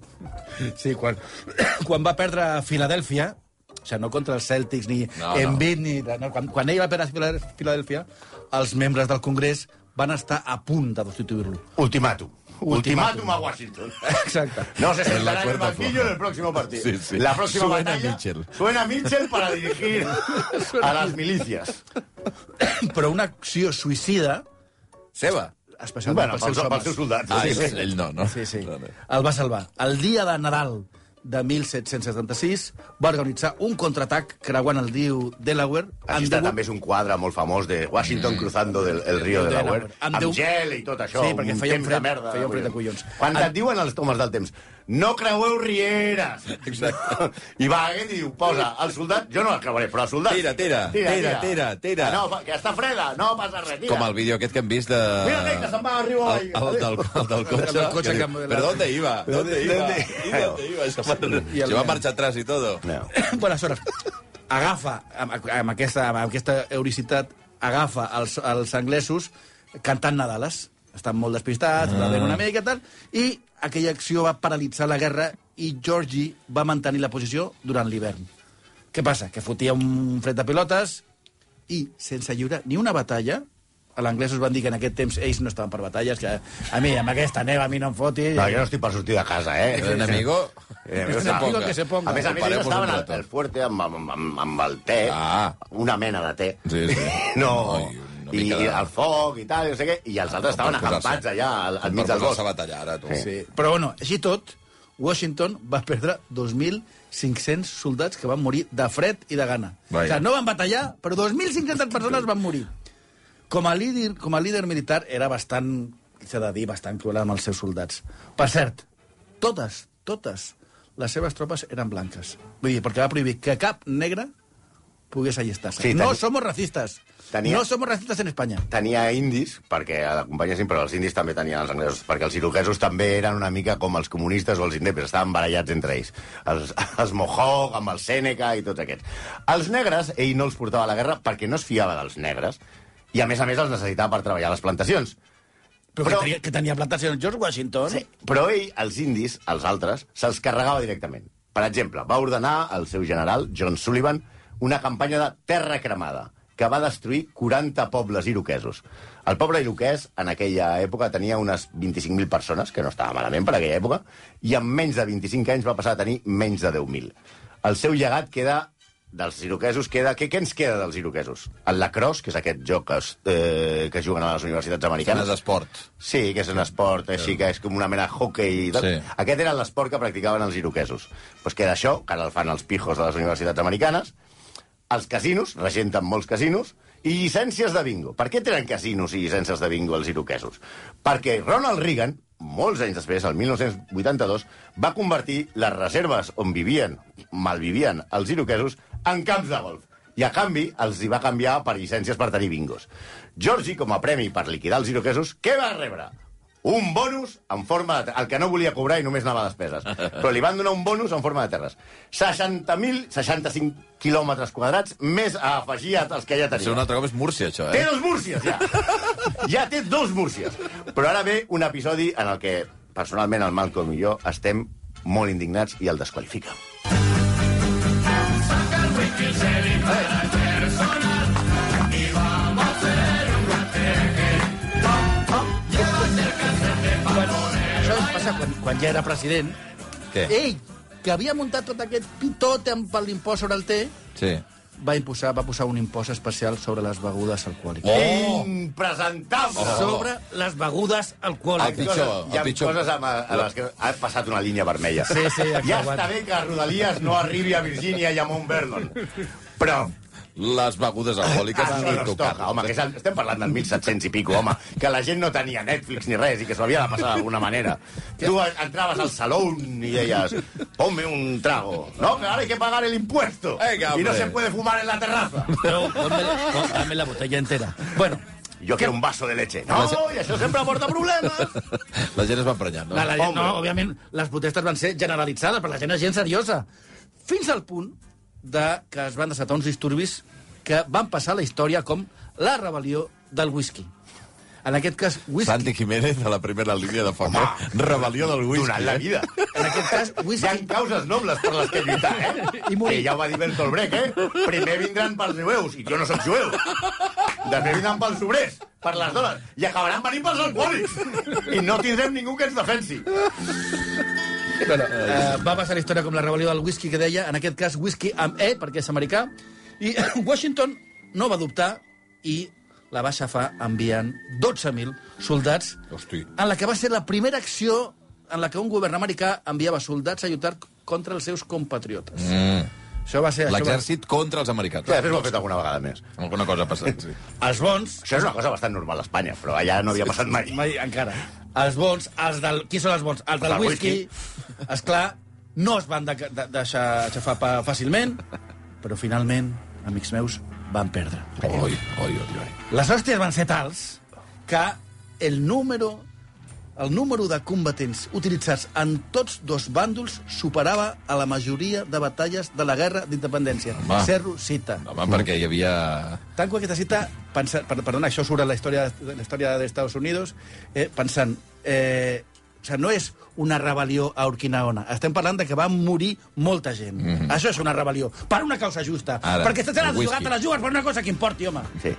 Speaker 7: Sí, quan, quan va perdre a Filadèlfia, o sigui, no contra els Celtics, ni
Speaker 4: No,
Speaker 7: no,
Speaker 4: no.
Speaker 7: Embiid, ni... No, quan, quan ell va perdre a Fila- Filadèlfia, els membres del Congrés van estar a punt de destituir-lo.
Speaker 5: Ultimàtum. Ultimàtum a Washington.
Speaker 7: Exacte.
Speaker 5: No
Speaker 4: la
Speaker 5: se sentará en el
Speaker 4: cuerda
Speaker 5: banquillo
Speaker 4: floja.
Speaker 5: en el próximo partido.
Speaker 4: Sí, sí.
Speaker 5: La próxima
Speaker 4: Suena
Speaker 5: batalla
Speaker 4: Mitchell.
Speaker 5: suena Mitchell para dirigir a las milicias.
Speaker 7: Però una acció suïcida,
Speaker 4: Seva.
Speaker 7: especialment
Speaker 5: bueno,
Speaker 7: pels
Speaker 5: pels,
Speaker 7: seus homes.
Speaker 5: pels seus soldats.
Speaker 4: Ah, sí, ell no, no?
Speaker 7: Sí, sí.
Speaker 4: No, no.
Speaker 7: El va salvar. El dia de Nadal de 1776 va organitzar un contraatac creuant el riu Delaware
Speaker 5: Així està també és un quadre molt famós de
Speaker 7: Mm.
Speaker 5: Washington cruzando del, el río de Delaware. Amb,
Speaker 7: deu-
Speaker 5: gel i tot això.
Speaker 7: Sí, perquè
Speaker 5: un
Speaker 7: feia un
Speaker 5: temps
Speaker 7: fred-
Speaker 5: de merda.
Speaker 7: feia un fred de collons.
Speaker 5: Quan et diuen els homes del temps, no creueu rieres. Exacte. I va aquest i diu, posa, el soldat, jo no el creuaré, però el soldat...
Speaker 4: Tira, tira, tira, tira, tira.
Speaker 5: Ah, No, fa- que està freda, no passa res, tira.
Speaker 4: Com el vídeo aquest que hem vist de...
Speaker 5: Mira, nen, que se'n va al riu
Speaker 4: El, el,
Speaker 5: avall.
Speaker 4: del, el del cotxe.
Speaker 7: El del cotxe
Speaker 4: que
Speaker 7: que-
Speaker 4: diu, Però ¿dónde iba? ¿Dónde iba?
Speaker 5: ¿Dónde-
Speaker 4: ¿Y ¿Dónde iba? Se va-
Speaker 7: el
Speaker 4: Se va
Speaker 7: nen.
Speaker 4: marxa atrás i todo.
Speaker 5: No.
Speaker 7: Buenas hores. Agafa, amb, amb, aquesta, amb aquesta euricitat, agafa els, els anglesos cantant Nadales. Estan molt despistats, ah. bevent una mica i tal, i aquella acció va paralitzar la guerra i Georgie va mantenir la posició durant l'hivern. Què passa? Que fotia un fred de pilotes i, sense lliure ni una batalla, a l'anglès us van dir que en aquest temps ells no estaven per batalles, que a mi amb aquesta neva a mi no em fotis...
Speaker 5: No, jo no estic per sortir de casa, eh?
Speaker 4: Un amigo...
Speaker 5: Eh,
Speaker 7: Un
Speaker 5: sap-
Speaker 7: amigo que se ponga.
Speaker 5: A més, a més, ells
Speaker 4: Compareu-vos
Speaker 5: estaven
Speaker 4: un
Speaker 5: al,
Speaker 4: rato.
Speaker 5: al fuerte amb, amb, amb, amb el te,
Speaker 4: Ah.
Speaker 5: una mena de te.
Speaker 4: Sí, sí.
Speaker 5: No,
Speaker 4: i una
Speaker 5: i,
Speaker 4: mica de-
Speaker 5: el foc i tal, i no sé què, i els altres estaven
Speaker 4: Per posar-se-
Speaker 5: acampats allà al, al mig
Speaker 4: Per
Speaker 5: del
Speaker 4: posar-se a
Speaker 5: bosc.
Speaker 4: batallar, ara, tu.
Speaker 7: Sí. Però bueno, així tot, Washington va perdre 2.500 soldats que van morir de fred i de gana.
Speaker 4: Vaja.
Speaker 7: O sigui, no van batallar, però 2.500 persones van morir. Com a líder, com a líder militar era bastant, s'ha de dir, bastant cruel amb els seus soldats. Per cert, totes, totes les seves tropes eren blanques. Vull dir, perquè va prohibir que cap negre pogués allistar-se.
Speaker 5: Sí,
Speaker 7: Sí, no
Speaker 5: tenia-
Speaker 7: somos racistas.
Speaker 5: tenia-
Speaker 7: No somos racistas en España.
Speaker 5: Tenia indis, perquè l'acompanyessin, però els indis també tenien els anglesos, perquè els iroquesos també eren una mica com els comunistes o els indepes, estaven barallats entre ells. Els, els Mohawk, amb els Seneca i tots aquests. Els negres, ell no els portava a la guerra perquè no es fiava dels negres, i a més a més els necessitava per treballar a les plantacions.
Speaker 7: Però,
Speaker 5: Però-
Speaker 7: Que, tenia, que tenia plantacions George Washington.
Speaker 5: Sí, però ell, els indis, els altres, se'ls carregava directament. Per exemple, va ordenar al seu general, John Sullivan, una campanya de terra cremada, que va destruir 40 pobles iroquesos. El poble iroquès, en aquella època, tenia unes 25.000 persones, que no estava malament per aquella època, i en menys de 25 anys va passar a tenir menys de 10.000. El seu llegat queda dels iroquesos queda... Què, què ens queda dels iroquesos? El lacrosse, que és aquest joc que, es, eh, que es juguen a les universitats
Speaker 4: Canes
Speaker 5: americanes.
Speaker 4: d'esport.
Speaker 5: Sí, que és un esport així, que és com una mena de hockey. Sí.
Speaker 4: Sí.
Speaker 5: Aquest era l'esport que practicaven els iroquesos. Pues que d'això, que ara el fan els pijos de les universitats americanes, els casinos, regenten molts casinos, i llicències de bingo. Per què tenen casinos i llicències de bingo els iroquesos? Perquè Ronald Reagan, molts anys després, el 1982, va convertir les reserves on vivien, malvivien els iroquesos, en camps de golf. I, a canvi, els hi va canviar per llicències per tenir bingos. Georgie, com a premi per liquidar els iroquesos, què va rebre? Un bonus en forma de... El que no volia cobrar i només anava a despeses. Però li van donar un bonus en forma de terres. 60.000, 65 quilòmetres quadrats més a afegir als que ja
Speaker 4: Això
Speaker 5: tenia.
Speaker 4: un altre cop és Múrcia, això,
Speaker 5: Té
Speaker 4: eh?
Speaker 5: dos Múrcies, ja. ja té dos Múrcies. Però ara ve un episodi en el que, personalment, el Malcolm i jo estem molt indignats i el desqualifica.
Speaker 7: Això es passa quan, quan ja era president.
Speaker 4: Què?
Speaker 7: Ell, que havia muntat tot aquest pitote amb per l'impost sobre el té,
Speaker 4: Sí.
Speaker 7: va, imposar, va posar un impost especial sobre les begudes alcohòliques.
Speaker 4: Oh!
Speaker 5: Impresentable!
Speaker 7: Sobre les begudes
Speaker 5: Hi ha
Speaker 7: alcohòliques.
Speaker 4: pitjor,
Speaker 5: coses- hi ha
Speaker 4: el pitjor.
Speaker 5: coses amb, a les que ha passat una línia vermella.
Speaker 7: Sí, sí, ha
Speaker 5: ja
Speaker 7: creuat.
Speaker 5: està bé que Rodalies no arribi a Virgínia i a Mount Vernon. Però
Speaker 4: Les begudes alcohòliques
Speaker 5: això
Speaker 4: ni
Speaker 5: Ah, no es toca,
Speaker 4: tocar.
Speaker 5: home, que és el- estem parlant del 1700 i pico, home, que la gent no tenia Netflix ni res i que s'ho havia de passar d'alguna manera. Tu entraves al saló i deies, ponme un trago. No, que ahora hay que pagar el impuesto.
Speaker 4: Venga,
Speaker 5: y no
Speaker 4: hombre.
Speaker 5: se puede fumar en la terraza.
Speaker 7: Però ponme, pon- dame la botella entera. Bueno,
Speaker 5: Yo quiero un vaso de leche. No, i això sempre porta problemes.
Speaker 4: La gent es va emprenyar, no?
Speaker 7: la, la, gent-
Speaker 5: Hombre.
Speaker 7: no, òbviament, les protestes van ser generalitzades, però la gent és gent seriosa. Fins al punt de que es van desatar uns disturbis que van passar a la història com la rebel·lió del whisky. En aquest cas, whisky.
Speaker 4: Santi Jiménez a la primera línia de foc. eh? Rebel·lió del whisky.
Speaker 5: Durant la
Speaker 4: eh?
Speaker 5: vida.
Speaker 7: En aquest cas,
Speaker 5: Hi ha
Speaker 7: whisky.
Speaker 5: causes nobles per les que lluitar, eh?
Speaker 7: I morir.
Speaker 5: Que ja ho va dir Bertolt Brecht, eh? Primer vindran pels jueus, i jo no sóc jueu. Després vindran pels obrers, per les dones, i acabaran venint pels alcohòlics. I no tindrem ningú que ens defensi.
Speaker 7: Bueno, eh, va passar la història com la rebel·lió del whisky que deia, en aquest cas whisky amb E, perquè és americà, i Washington no va dubtar i la va aixafar enviant 12.000 soldats,
Speaker 4: Hosti.
Speaker 7: en la que va ser la primera acció en la que un govern americà enviava soldats a lluitar contra els seus compatriotes.
Speaker 4: Mm.
Speaker 7: Això va ser... Això va...
Speaker 4: L'exèrcit contra els americans.
Speaker 5: Que després ho ha fet alguna vegada més.
Speaker 4: Alguna cosa ha passat, sí.
Speaker 7: Els bons,
Speaker 5: Això és una cosa bastant normal a Espanya, però allà no havia passat mai.
Speaker 7: mai encara, els bons, els del... Qui són els bons? Els del
Speaker 5: del
Speaker 7: whisky, esclar, no es van de, de, deixar aixafar pa, fàcilment, però finalment, amics meus, van perdre.
Speaker 4: Oi, oi, oi, oi.
Speaker 7: Les hòsties van ser tals que el número el número de combatents utilitzats en tots dos bàndols superava a la majoria de batalles de la guerra d'independència.
Speaker 4: Home.
Speaker 7: Cerro cita.
Speaker 4: Home, perquè hi havia...
Speaker 7: Tanco aquesta cita, pensa, per, perdona, això sobre la història, la història dels Estats Units, eh, pensant, eh, o sigui, no és una rebel·lió a Urquinaona. Estem parlant de que va morir molta gent. Mm -hmm. Això és una rebel·lió. Per una causa justa.
Speaker 4: Mhm. Ara,
Speaker 7: perquè se l'has
Speaker 4: el whisky.
Speaker 7: jugat, te la jugues per una cosa que importi, home.
Speaker 5: Sí.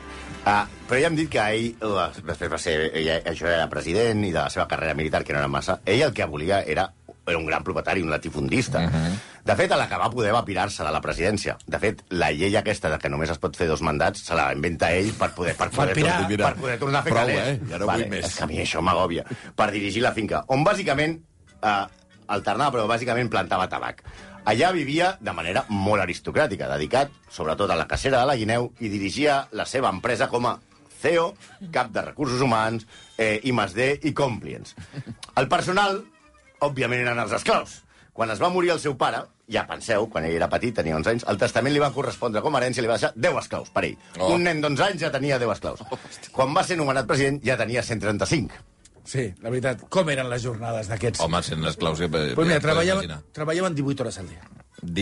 Speaker 5: Ah, però ja hem dit que ell, la, després va ser, ell, això era president i de la seva carrera militar, que no era massa, ell el que volia era, era un gran propietari, un latifundista. Uh -huh.
Speaker 4: Mhm.
Speaker 5: De fet, a la que va poder va pirar-se de la presidència. De fet, la llei aquesta de que només es pot fer dos mandats se la inventa ell per poder, per poder,
Speaker 7: pirar.
Speaker 5: tornar- per poder tornar a fer
Speaker 4: Prou,
Speaker 5: calés.
Speaker 4: eh? Ja no vull més.
Speaker 5: És que a mi això m'agòbia. Per dirigir la finca, on bàsicament eh, alternava, però bàsicament plantava tabac. Allà vivia de manera molt aristocràtica, dedicat sobretot a la cacera de la guineu i dirigia la seva empresa com a CEO, cap de recursos humans, eh, i D i compliance. El personal, òbviament, eren els esclaus. Quan es va morir el seu pare, ja penseu, quan ell era petit, tenia 11 anys, el testament li va correspondre com a herència i li va deixar 10 esclaus per ell.
Speaker 4: Oh.
Speaker 5: Un nen d'11 anys ja tenia 10 esclaus. Quan va ser nomenat president ja tenia 135.
Speaker 7: Sí, la veritat, com eren les jornades d'aquests?
Speaker 4: Home, sent les claus... Ja,
Speaker 7: Pues mira,
Speaker 4: ja
Speaker 7: treballaven,
Speaker 4: eh, imaginar.
Speaker 7: treballaven 18 hores al dia.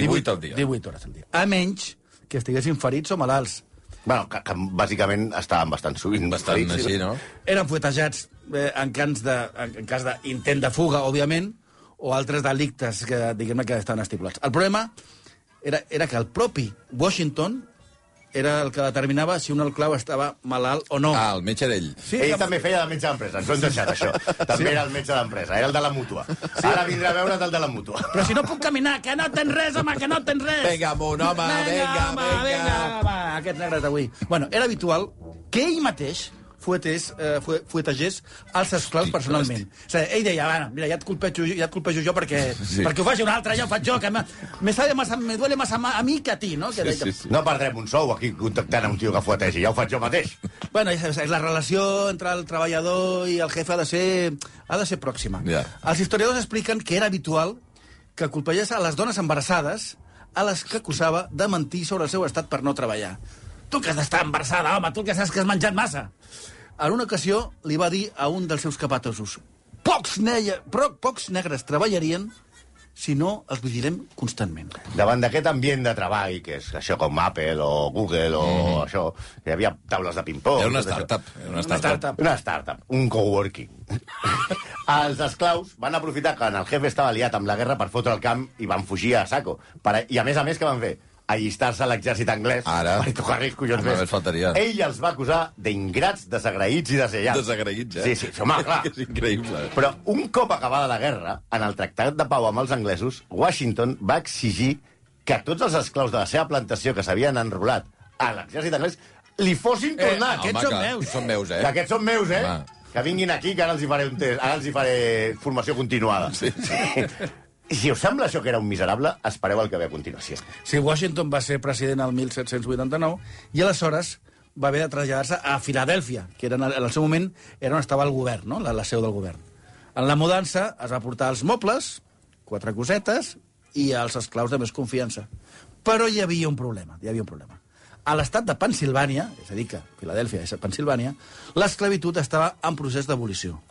Speaker 4: 18 al dia.
Speaker 7: 18 hores al dia. A menys que estiguessin ferits o malalts.
Speaker 5: Bueno, que, que bàsicament estaven bastant sovint.
Speaker 4: Bastant
Speaker 5: ferits.
Speaker 4: així, no?
Speaker 7: Eren fuetejats eh, en, cans de, en, en cas d'intent de fuga, òbviament, o altres delictes que, diguem-ne, que estaven estipulats. El problema era, era que el propi Washington era el que determinava si un alclau estava malalt o
Speaker 5: Oh.
Speaker 7: no.
Speaker 4: Ah, el metge d'ell.
Speaker 7: Sí,
Speaker 5: Ell
Speaker 7: que-
Speaker 5: també feia de metge d'empresa, ens ho hem deixat, això. També era el metge d'empresa, era el de la mútua. Ara vindrà a veure't el de la mútua.
Speaker 7: Però si no puc caminar, que no tens res, home, que no tens res.
Speaker 4: Vinga, mon home, vinga, vinga.
Speaker 7: home, aquests negres d'avui. Bueno, era habitual que ell mateix fuetés, eh, fue- fuetegés els esclaus personalment. O sigui, ell deia, bueno, mira, ja et culpejo, jo- ja et culpejo jo perquè,
Speaker 4: Sí.
Speaker 7: perquè ho faci un altre, ja ho faig jo, que me, me, sabe más, a- me duele más a, ma- a mi que a ti, no? Que,
Speaker 4: Sí, sí.
Speaker 5: No perdrem un sou aquí contactant amb un tio que fuetegi, ja ho faig jo mateix.
Speaker 7: Bueno, ja saps, la relació entre el treballador i el jefe ha de ser, ha de ser pròxima.
Speaker 4: Ja.
Speaker 7: Els historiadors expliquen que era habitual que colpegés a les dones embarassades a les que acusava de mentir sobre el seu estat per no treballar. Tu que has d'estar embarassada, home, tu que saps que has menjat massa. En una ocasió li va dir a un dels seus capatossos pocs, neia, però pocs negres treballarien si no els vigilem constantment.
Speaker 5: Davant d'aquest ambient de treball, que és això com Apple o Google o això, que hi havia taules de ping-pong...
Speaker 4: Mm-hmm. Era una
Speaker 5: tot això.
Speaker 4: startup. Era una
Speaker 7: Una
Speaker 4: startup.
Speaker 7: startup.
Speaker 5: Una startup, un coworking. els esclaus van aprofitar que el jefe estava liat amb la guerra per fotre el camp i van fugir a saco. Per, I a més a més, que van fer? allistar-se a l'exèrcit anglès
Speaker 4: Ara.
Speaker 5: per tocar-li els collons
Speaker 4: Home, només faltaria.
Speaker 5: Ell els va acusar d'ingrats, desagraïts i desallats.
Speaker 4: Desagraïts, eh?
Speaker 5: Sí, sí, home, clar.
Speaker 4: És increïble.
Speaker 5: Però un cop acabada la guerra, en el tractat de pau amb els anglesos, Washington va exigir que tots els esclaus de la seva plantació que s'havien enrolat a l'exèrcit anglès li fossin tornats.
Speaker 4: Home,
Speaker 7: Ah, Aquests són
Speaker 4: que-
Speaker 7: meus.
Speaker 4: Són meus, eh?
Speaker 5: Que aquests són meus, eh?
Speaker 4: Home.
Speaker 5: Que vinguin aquí, que ara els hi faré, un test, ara els hi faré formació continuada. Sí, sí. Si us sembla això que era un miserable, espereu el que ve a continuació.
Speaker 7: Sí, Washington va ser president al 1789 i aleshores va haver de traslladar-se a Filadèlfia, que era en el en el seu moment era on estava el govern, no? la, la seu del govern. En la mudança es va portar els mobles, quatre cosetes, i els esclaus de més confiança. Però hi havia un problema, hi havia un problema. A l'estat de Pensilvània, és a dir, que Filadèlfia és a Pensilvània, l'esclavitud estava en procés d'abolició.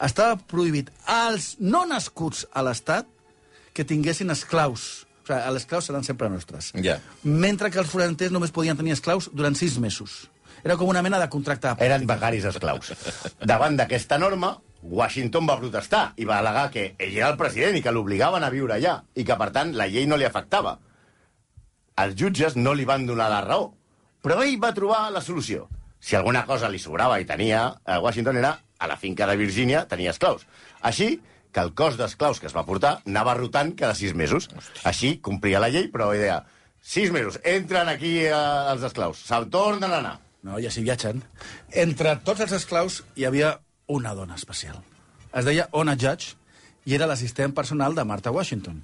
Speaker 7: Estava prohibit als no nascuts a l'estat que tinguessin esclaus. O sigui, els esclaus seran sempre nostres.
Speaker 4: Ja.
Speaker 7: Mentre que els foranters només podien tenir esclaus durant sis mesos. Era com una mena de contracte.
Speaker 5: Eren becaris esclaus. Davant d'aquesta norma, Washington va protestar i va al·legar que ell era el president i que l'obligaven a viure allà i que, per tant, la llei no li afectava. Els jutges no li van donar la raó, però ell va trobar la solució. Si alguna cosa li sobrava i tenia, a Washington era a la finca de Virgínia, tenia esclaus. Així que el cos d'esclaus que es va portar anava rotant cada sis mesos. Així complia la llei, però idea... Sis mesos, entren aquí eh, els esclaus, se'n tornen a anar.
Speaker 7: No, ja s'hi viatgen. Entre tots els esclaus hi havia una dona especial. Es deia Ona Judge i era l'assistent personal de Martha Washington.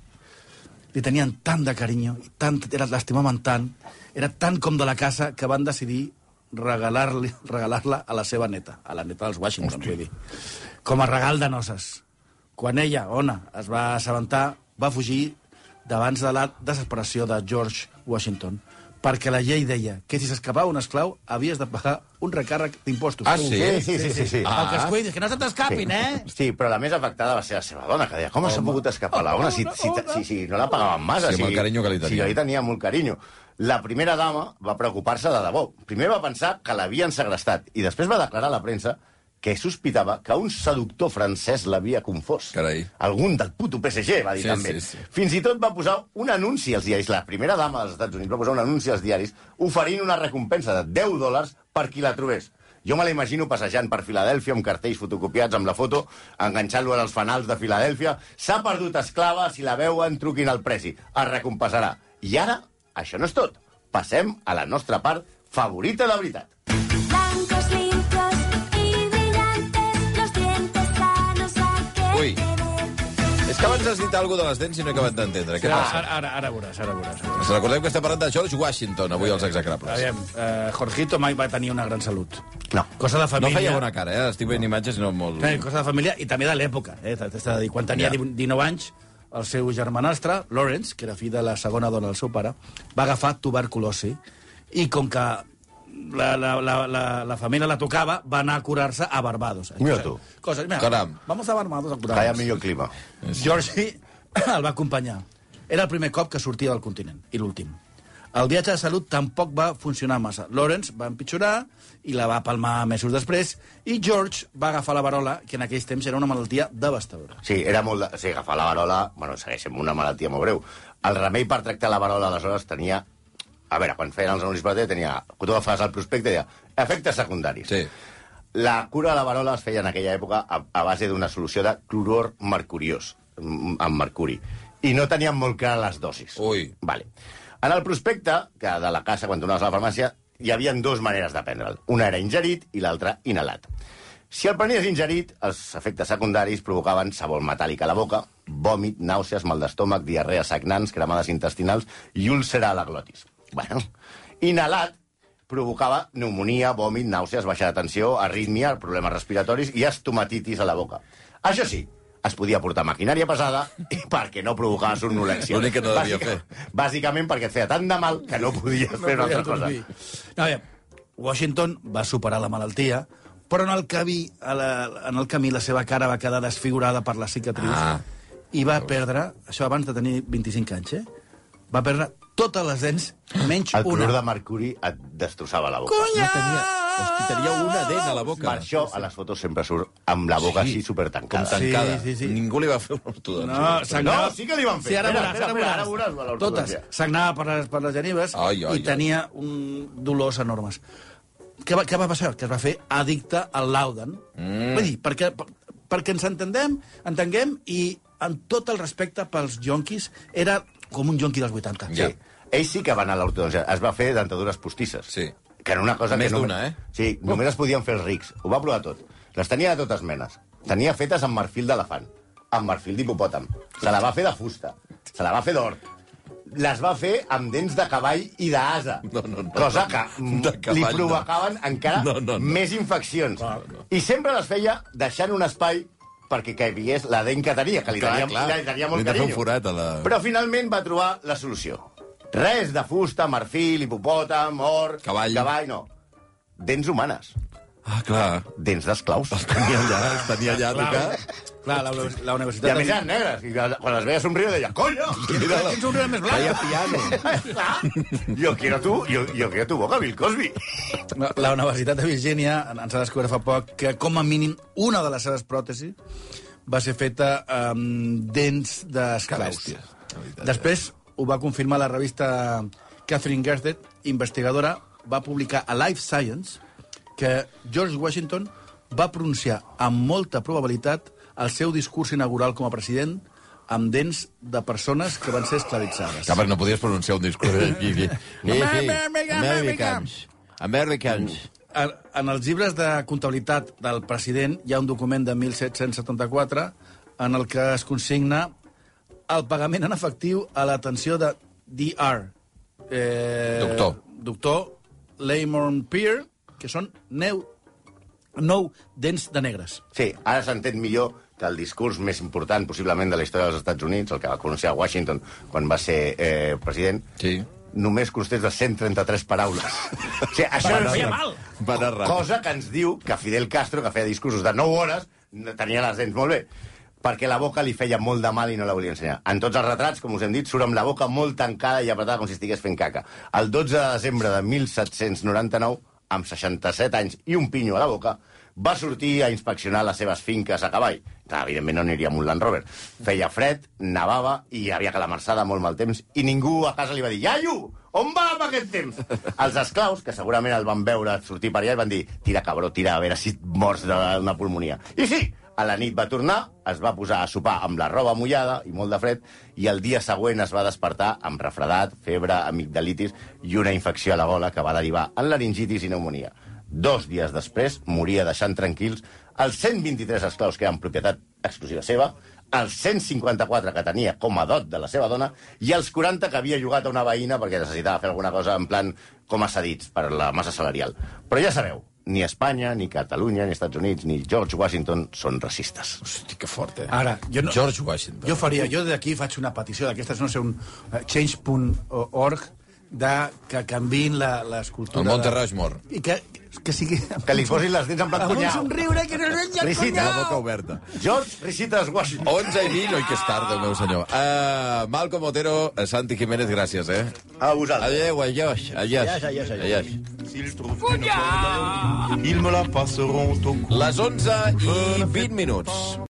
Speaker 7: Li tenien tant de carinyo, i tant, era- l'estimaven tant, era tan com de la casa que van decidir regalar-li- regalar-la regalar a la seva neta, a la neta dels Washington, vull dir. Com a regal de noces. Quan ella, Ona, es va assabentar, va fugir davant de la desesperació de George Washington, perquè la llei deia que si s'escapava un esclau havies de pagar un recàrrec d'impostos.
Speaker 4: Ah, sí?
Speaker 5: Sí, sí, sí, sí. sí.
Speaker 7: Ah. El que es cuidis, que no se t'escapin, eh?
Speaker 5: Sí, però la més afectada va ser la seva dona, que deia, com s'ha pogut escapar la dona si, si, si, si no la pagaven massa?
Speaker 4: Sí, amb el carinyo que li tenia.
Speaker 5: Sí, jo hi tenia molt carinyo. La primera dama va preocupar-se de debò. Primer va pensar que l'havien segrestat i després va declarar a la premsa que sospitava que un seductor francès l'havia confós.
Speaker 4: Carai.
Speaker 5: Algun del puto PSG, va dir
Speaker 4: Sí,
Speaker 5: també.
Speaker 4: sí, sí.
Speaker 5: Fins i tot va posar un anunci als diaris. La primera dama dels Estats Units va posar un anunci als diaris oferint una recompensa de 10 dòlars per qui la trobés. Jo me la imagino passejant per Filadèlfia amb cartells fotocopiats amb la foto, enganxant-lo als fanals de Filadèlfia. S'ha perdut esclava, si la veuen, truquin al presi. Es recompensarà. I ara, això no és tot. Passem a la nostra part favorita de veritat.
Speaker 8: Blancos, limpios y brillantes, los dientes sanos a que
Speaker 4: Uy.
Speaker 8: te den.
Speaker 4: És que abans has dit alguna de les dents i no he acabat d'entendre. Què passa?
Speaker 7: Ara, ara, ara veuràs, ara veuràs.
Speaker 4: Ens recordem que està parlant de George Washington, avui als execrables.
Speaker 7: Aviam, eh, Jorgito mai va tenir una gran salut.
Speaker 5: No.
Speaker 7: Cosa de
Speaker 4: No
Speaker 7: família.
Speaker 4: feia bona cara, eh? Estic veient imatges i no molt...
Speaker 7: Eh, cosa de família i també de l'època. Eh? T'has de dir, Quan
Speaker 4: Ja.
Speaker 7: tenia 19 anys, el seu germanastre, Lawrence, que era fill de la segona dona del seu pare, va agafar tuberculosi i com que la, la, la, la, la família la tocava, va anar a curar-se a Barbados.
Speaker 5: Mira tu.
Speaker 7: Coses, mira,
Speaker 4: Caram.
Speaker 7: Vamos a Barbados a curar-nos.
Speaker 5: Calla millor clima.
Speaker 7: Georgie el va acompanyar. Era el primer cop que sortia del continent, i l'últim. El viatge de salut tampoc va funcionar massa. Lawrence va empitjorar i la va palmar mesos després, i George va agafar la varola, que en aquells temps era una malaltia devastadora.
Speaker 5: Sí, era molt... De... Sí, agafar la varola... Bueno, segueix amb una malaltia molt greu. El remei per tractar la varola, aleshores, tenia... A veure, quan feien els anuncis per la tele, tenia... Tu agafes el prospecte i deia... Efectes secundaris.
Speaker 4: Sí.
Speaker 5: La cura de la varola es feia en aquella època a, a base d'una solució de clorur mercuriós, mm, amb mercuri. I no tenien molt clar les dosis.
Speaker 4: Ui.
Speaker 5: Vale. En el prospecte, que de la casa, quan tornaves a la farmàcia, hi havia dues maneres de prendre'l. Una era ingerit i l'altra inhalat. Si el prenies ingerit, els efectes secundaris provocaven sabor metàl·lic a la boca, vòmit, nàusees, mal d'estómac, diarrea, sagnants, cremades intestinals i úlcera a la glotis. Bueno, inhalat provocava pneumonia, vòmit, nàusees, baixa de tensió, arrítmia, problemes respiratoris i estomatitis a la boca. Això sí, es podia portar maquinària pesada i perquè no provocava somnolència.
Speaker 4: L'únic que no devia fer.
Speaker 5: Bàsicament perquè et feia tant de mal que no podies fer una altra cosa.
Speaker 7: dormir. No, a veure, Washington va superar la malaltia, però en el, camí, a la, en el camí la seva cara va quedar desfigurada per les cicatrius
Speaker 4: Ah.
Speaker 7: i va perdre, això abans de tenir 25 anys, eh? va perdre totes les dents, menys
Speaker 5: El
Speaker 7: una.
Speaker 5: clor de mercuri et destrossava la boca.
Speaker 7: Cunyat!
Speaker 4: Hosti, tenia una dent a la boca.
Speaker 5: Per això a les fotos sempre surt amb la boca
Speaker 4: Sí.
Speaker 5: així
Speaker 4: Com
Speaker 5: supertancada.
Speaker 4: tancada.
Speaker 7: Sí, sí, sí.
Speaker 4: Ningú li va fer un Ah, ortodòncia.
Speaker 7: No, sangrava...
Speaker 5: Doncs, No, sí que li van fer.
Speaker 7: Sí, ara
Speaker 5: Espera,
Speaker 7: veuràs,
Speaker 5: espera,
Speaker 7: ara
Speaker 5: espera,
Speaker 7: veuràs.
Speaker 5: ara veuràs la
Speaker 7: Totes.
Speaker 5: ortodòncia.
Speaker 7: Sangrava per les, per les genives
Speaker 4: Ai, ai,
Speaker 7: i tenia un dolors enormes. Què va, què va passar? Que es va fer addicte al Lauden. Mm. Vull dir, perquè, per- perquè ens entendem, entenguem, i amb tot el respecte pels jonquis, era com un jonqui dels 80.
Speaker 4: Ja.
Speaker 5: Ell sí que va anar a l'ortodòncia. Es va fer dentadures postisses.
Speaker 4: Sí.
Speaker 5: Que era una cosa
Speaker 4: Més
Speaker 5: que... només-
Speaker 4: d'una, eh?
Speaker 5: Sí, només es podien fer els rics. Ho va provar tot. Les tenia de totes menes. Tenia fetes amb marfil d'elefant, amb marfil d'hipopòtam. Se la va fer de fusta, se la va fer d'or. Les va fer amb dents de cavall i d'asa.
Speaker 4: No, no, no.
Speaker 5: cosa que mm,
Speaker 4: De cavall,
Speaker 5: li
Speaker 4: no.
Speaker 5: provocaven encara
Speaker 4: No, no, no.
Speaker 5: més infeccions. I sempre les feia deixant un espai perquè caigués la dent que tenia, que li
Speaker 4: Clar,
Speaker 5: tenia,
Speaker 4: clar.
Speaker 5: Li tenia molt
Speaker 4: Li de fer un
Speaker 5: carinyo.
Speaker 4: forat a la-
Speaker 5: Però finalment va trobar la solució. Res de fusta, marfil, hipopòtam, or...
Speaker 4: Cavall.
Speaker 5: Cavall, no. Dents humanes.
Speaker 4: Ah, clar.
Speaker 5: Dents d'esclaus.
Speaker 4: Els tenia allà, els tenia allà a tocar.
Speaker 7: Clar, la, la universitat...
Speaker 5: I a més eren negres. I quan les veia somriure deia, coño!
Speaker 4: Mira-la.
Speaker 7: Quins somriure més blanc?
Speaker 4: Feia piano.
Speaker 5: Clar. Yo quiero tu, yo, yo quiero tu boca, Bill Cosby.
Speaker 7: No, La Universitat de Virgínia ens ha descobert fa poc que, com a mínim, una de les seves pròtesis va ser feta amb dents d'esclaus.
Speaker 4: Que bèstia, la veritat,
Speaker 7: Després ho va confirmar la revista Catherine Gersted, investigadora, va publicar a Life Science que George Washington va pronunciar amb molta probabilitat el seu discurs inaugural com a president amb dents de persones que van ser esclavitzades.
Speaker 4: Clar, perquè no podies pronunciar un discurs. Sí, sí. Americans. Americans.
Speaker 7: En, en els llibres de comptabilitat del president hi ha un document de 1774 en el que es consigna el pagament en efectiu a l'atenció de DR. Eh,
Speaker 4: Doctor.
Speaker 7: Doctor Lamorne Peer, que són neu, nou dents de negres.
Speaker 5: Sí, ara s'entén millor que el discurs més important, possiblement, de la història dels Estats Units, el que va pronunciar Washington quan va ser eh, president,
Speaker 4: Sí.
Speaker 5: només constés de 133 paraules. O sigui, això
Speaker 4: Però
Speaker 5: era
Speaker 4: feia
Speaker 5: una
Speaker 4: Va anar ràpid.
Speaker 5: cosa que ens diu que Fidel Castro, que feia discursos de 9 hores, tenia les dents molt bé perquè la boca li feia molt de mal i no la volia ensenyar. En tots els retrats, com us hem dit, surt amb la boca molt tancada i apretada com si estigués fent caca. El 12 de desembre de 1799, amb 67 anys i un pinyo a la boca, va sortir a inspeccionar les seves finques a cavall. Clar, Evidentment no aniria amb un Land Rover. Feia fred, nevava i hi havia calamarsada molt mal temps i ningú a casa li va dir «Iaio, on va amb aquest temps?» Els esclaus, que segurament el van veure sortir per allà, i van dir «Tira, cabró, tira, a veure si et mors d'una pulmonia». I sí, a la nit va tornar, es va posar a sopar amb la roba mullada i molt de fred, i el dia següent es va despertar amb refredat, febre, amigdalitis i una infecció a la gola que va derivar en laringitis i pneumonia. Dos dies després moria deixant tranquils els 123 esclaus que eren propietat exclusiva seva, els 154 que tenia com a dot de la seva dona i els 40 que havia llogat a una veïna perquè necessitava fer alguna cosa en plan com a cedits per la massa salarial. Però ja sabeu, ni Espanya, ni Catalunya, ni Estats Units, ni George Washington són racistes.
Speaker 4: Hosti, que fort, eh?
Speaker 7: Ara, jo no-
Speaker 4: George Washington.
Speaker 7: Jo faria, jo d'aquí faig una petició d'aquestes, no sé, un eh, change.org de que canviïn la- l'escultura...
Speaker 4: El Monte
Speaker 7: de-
Speaker 4: Rushmore.
Speaker 7: I que, que sigui...
Speaker 5: Que li posin les dents en blanc
Speaker 7: Amb un
Speaker 5: punyau.
Speaker 7: somriure que no és el
Speaker 5: Felicita.
Speaker 4: La boca
Speaker 7: cunyau.
Speaker 4: oberta.
Speaker 5: George Risitas Washington.
Speaker 4: 11 i 20, oi que és tard, Déu meu senyor. Uh, Malcom Otero, eh, Santi Jiménez, gràcies, eh?
Speaker 5: A vosaltres.
Speaker 4: Adéu, adiós, adiós. Adiós, adiós.
Speaker 3: S'ils trouvent une folle, ils me la passeront au cou.
Speaker 4: Les 11 i 20 minuts.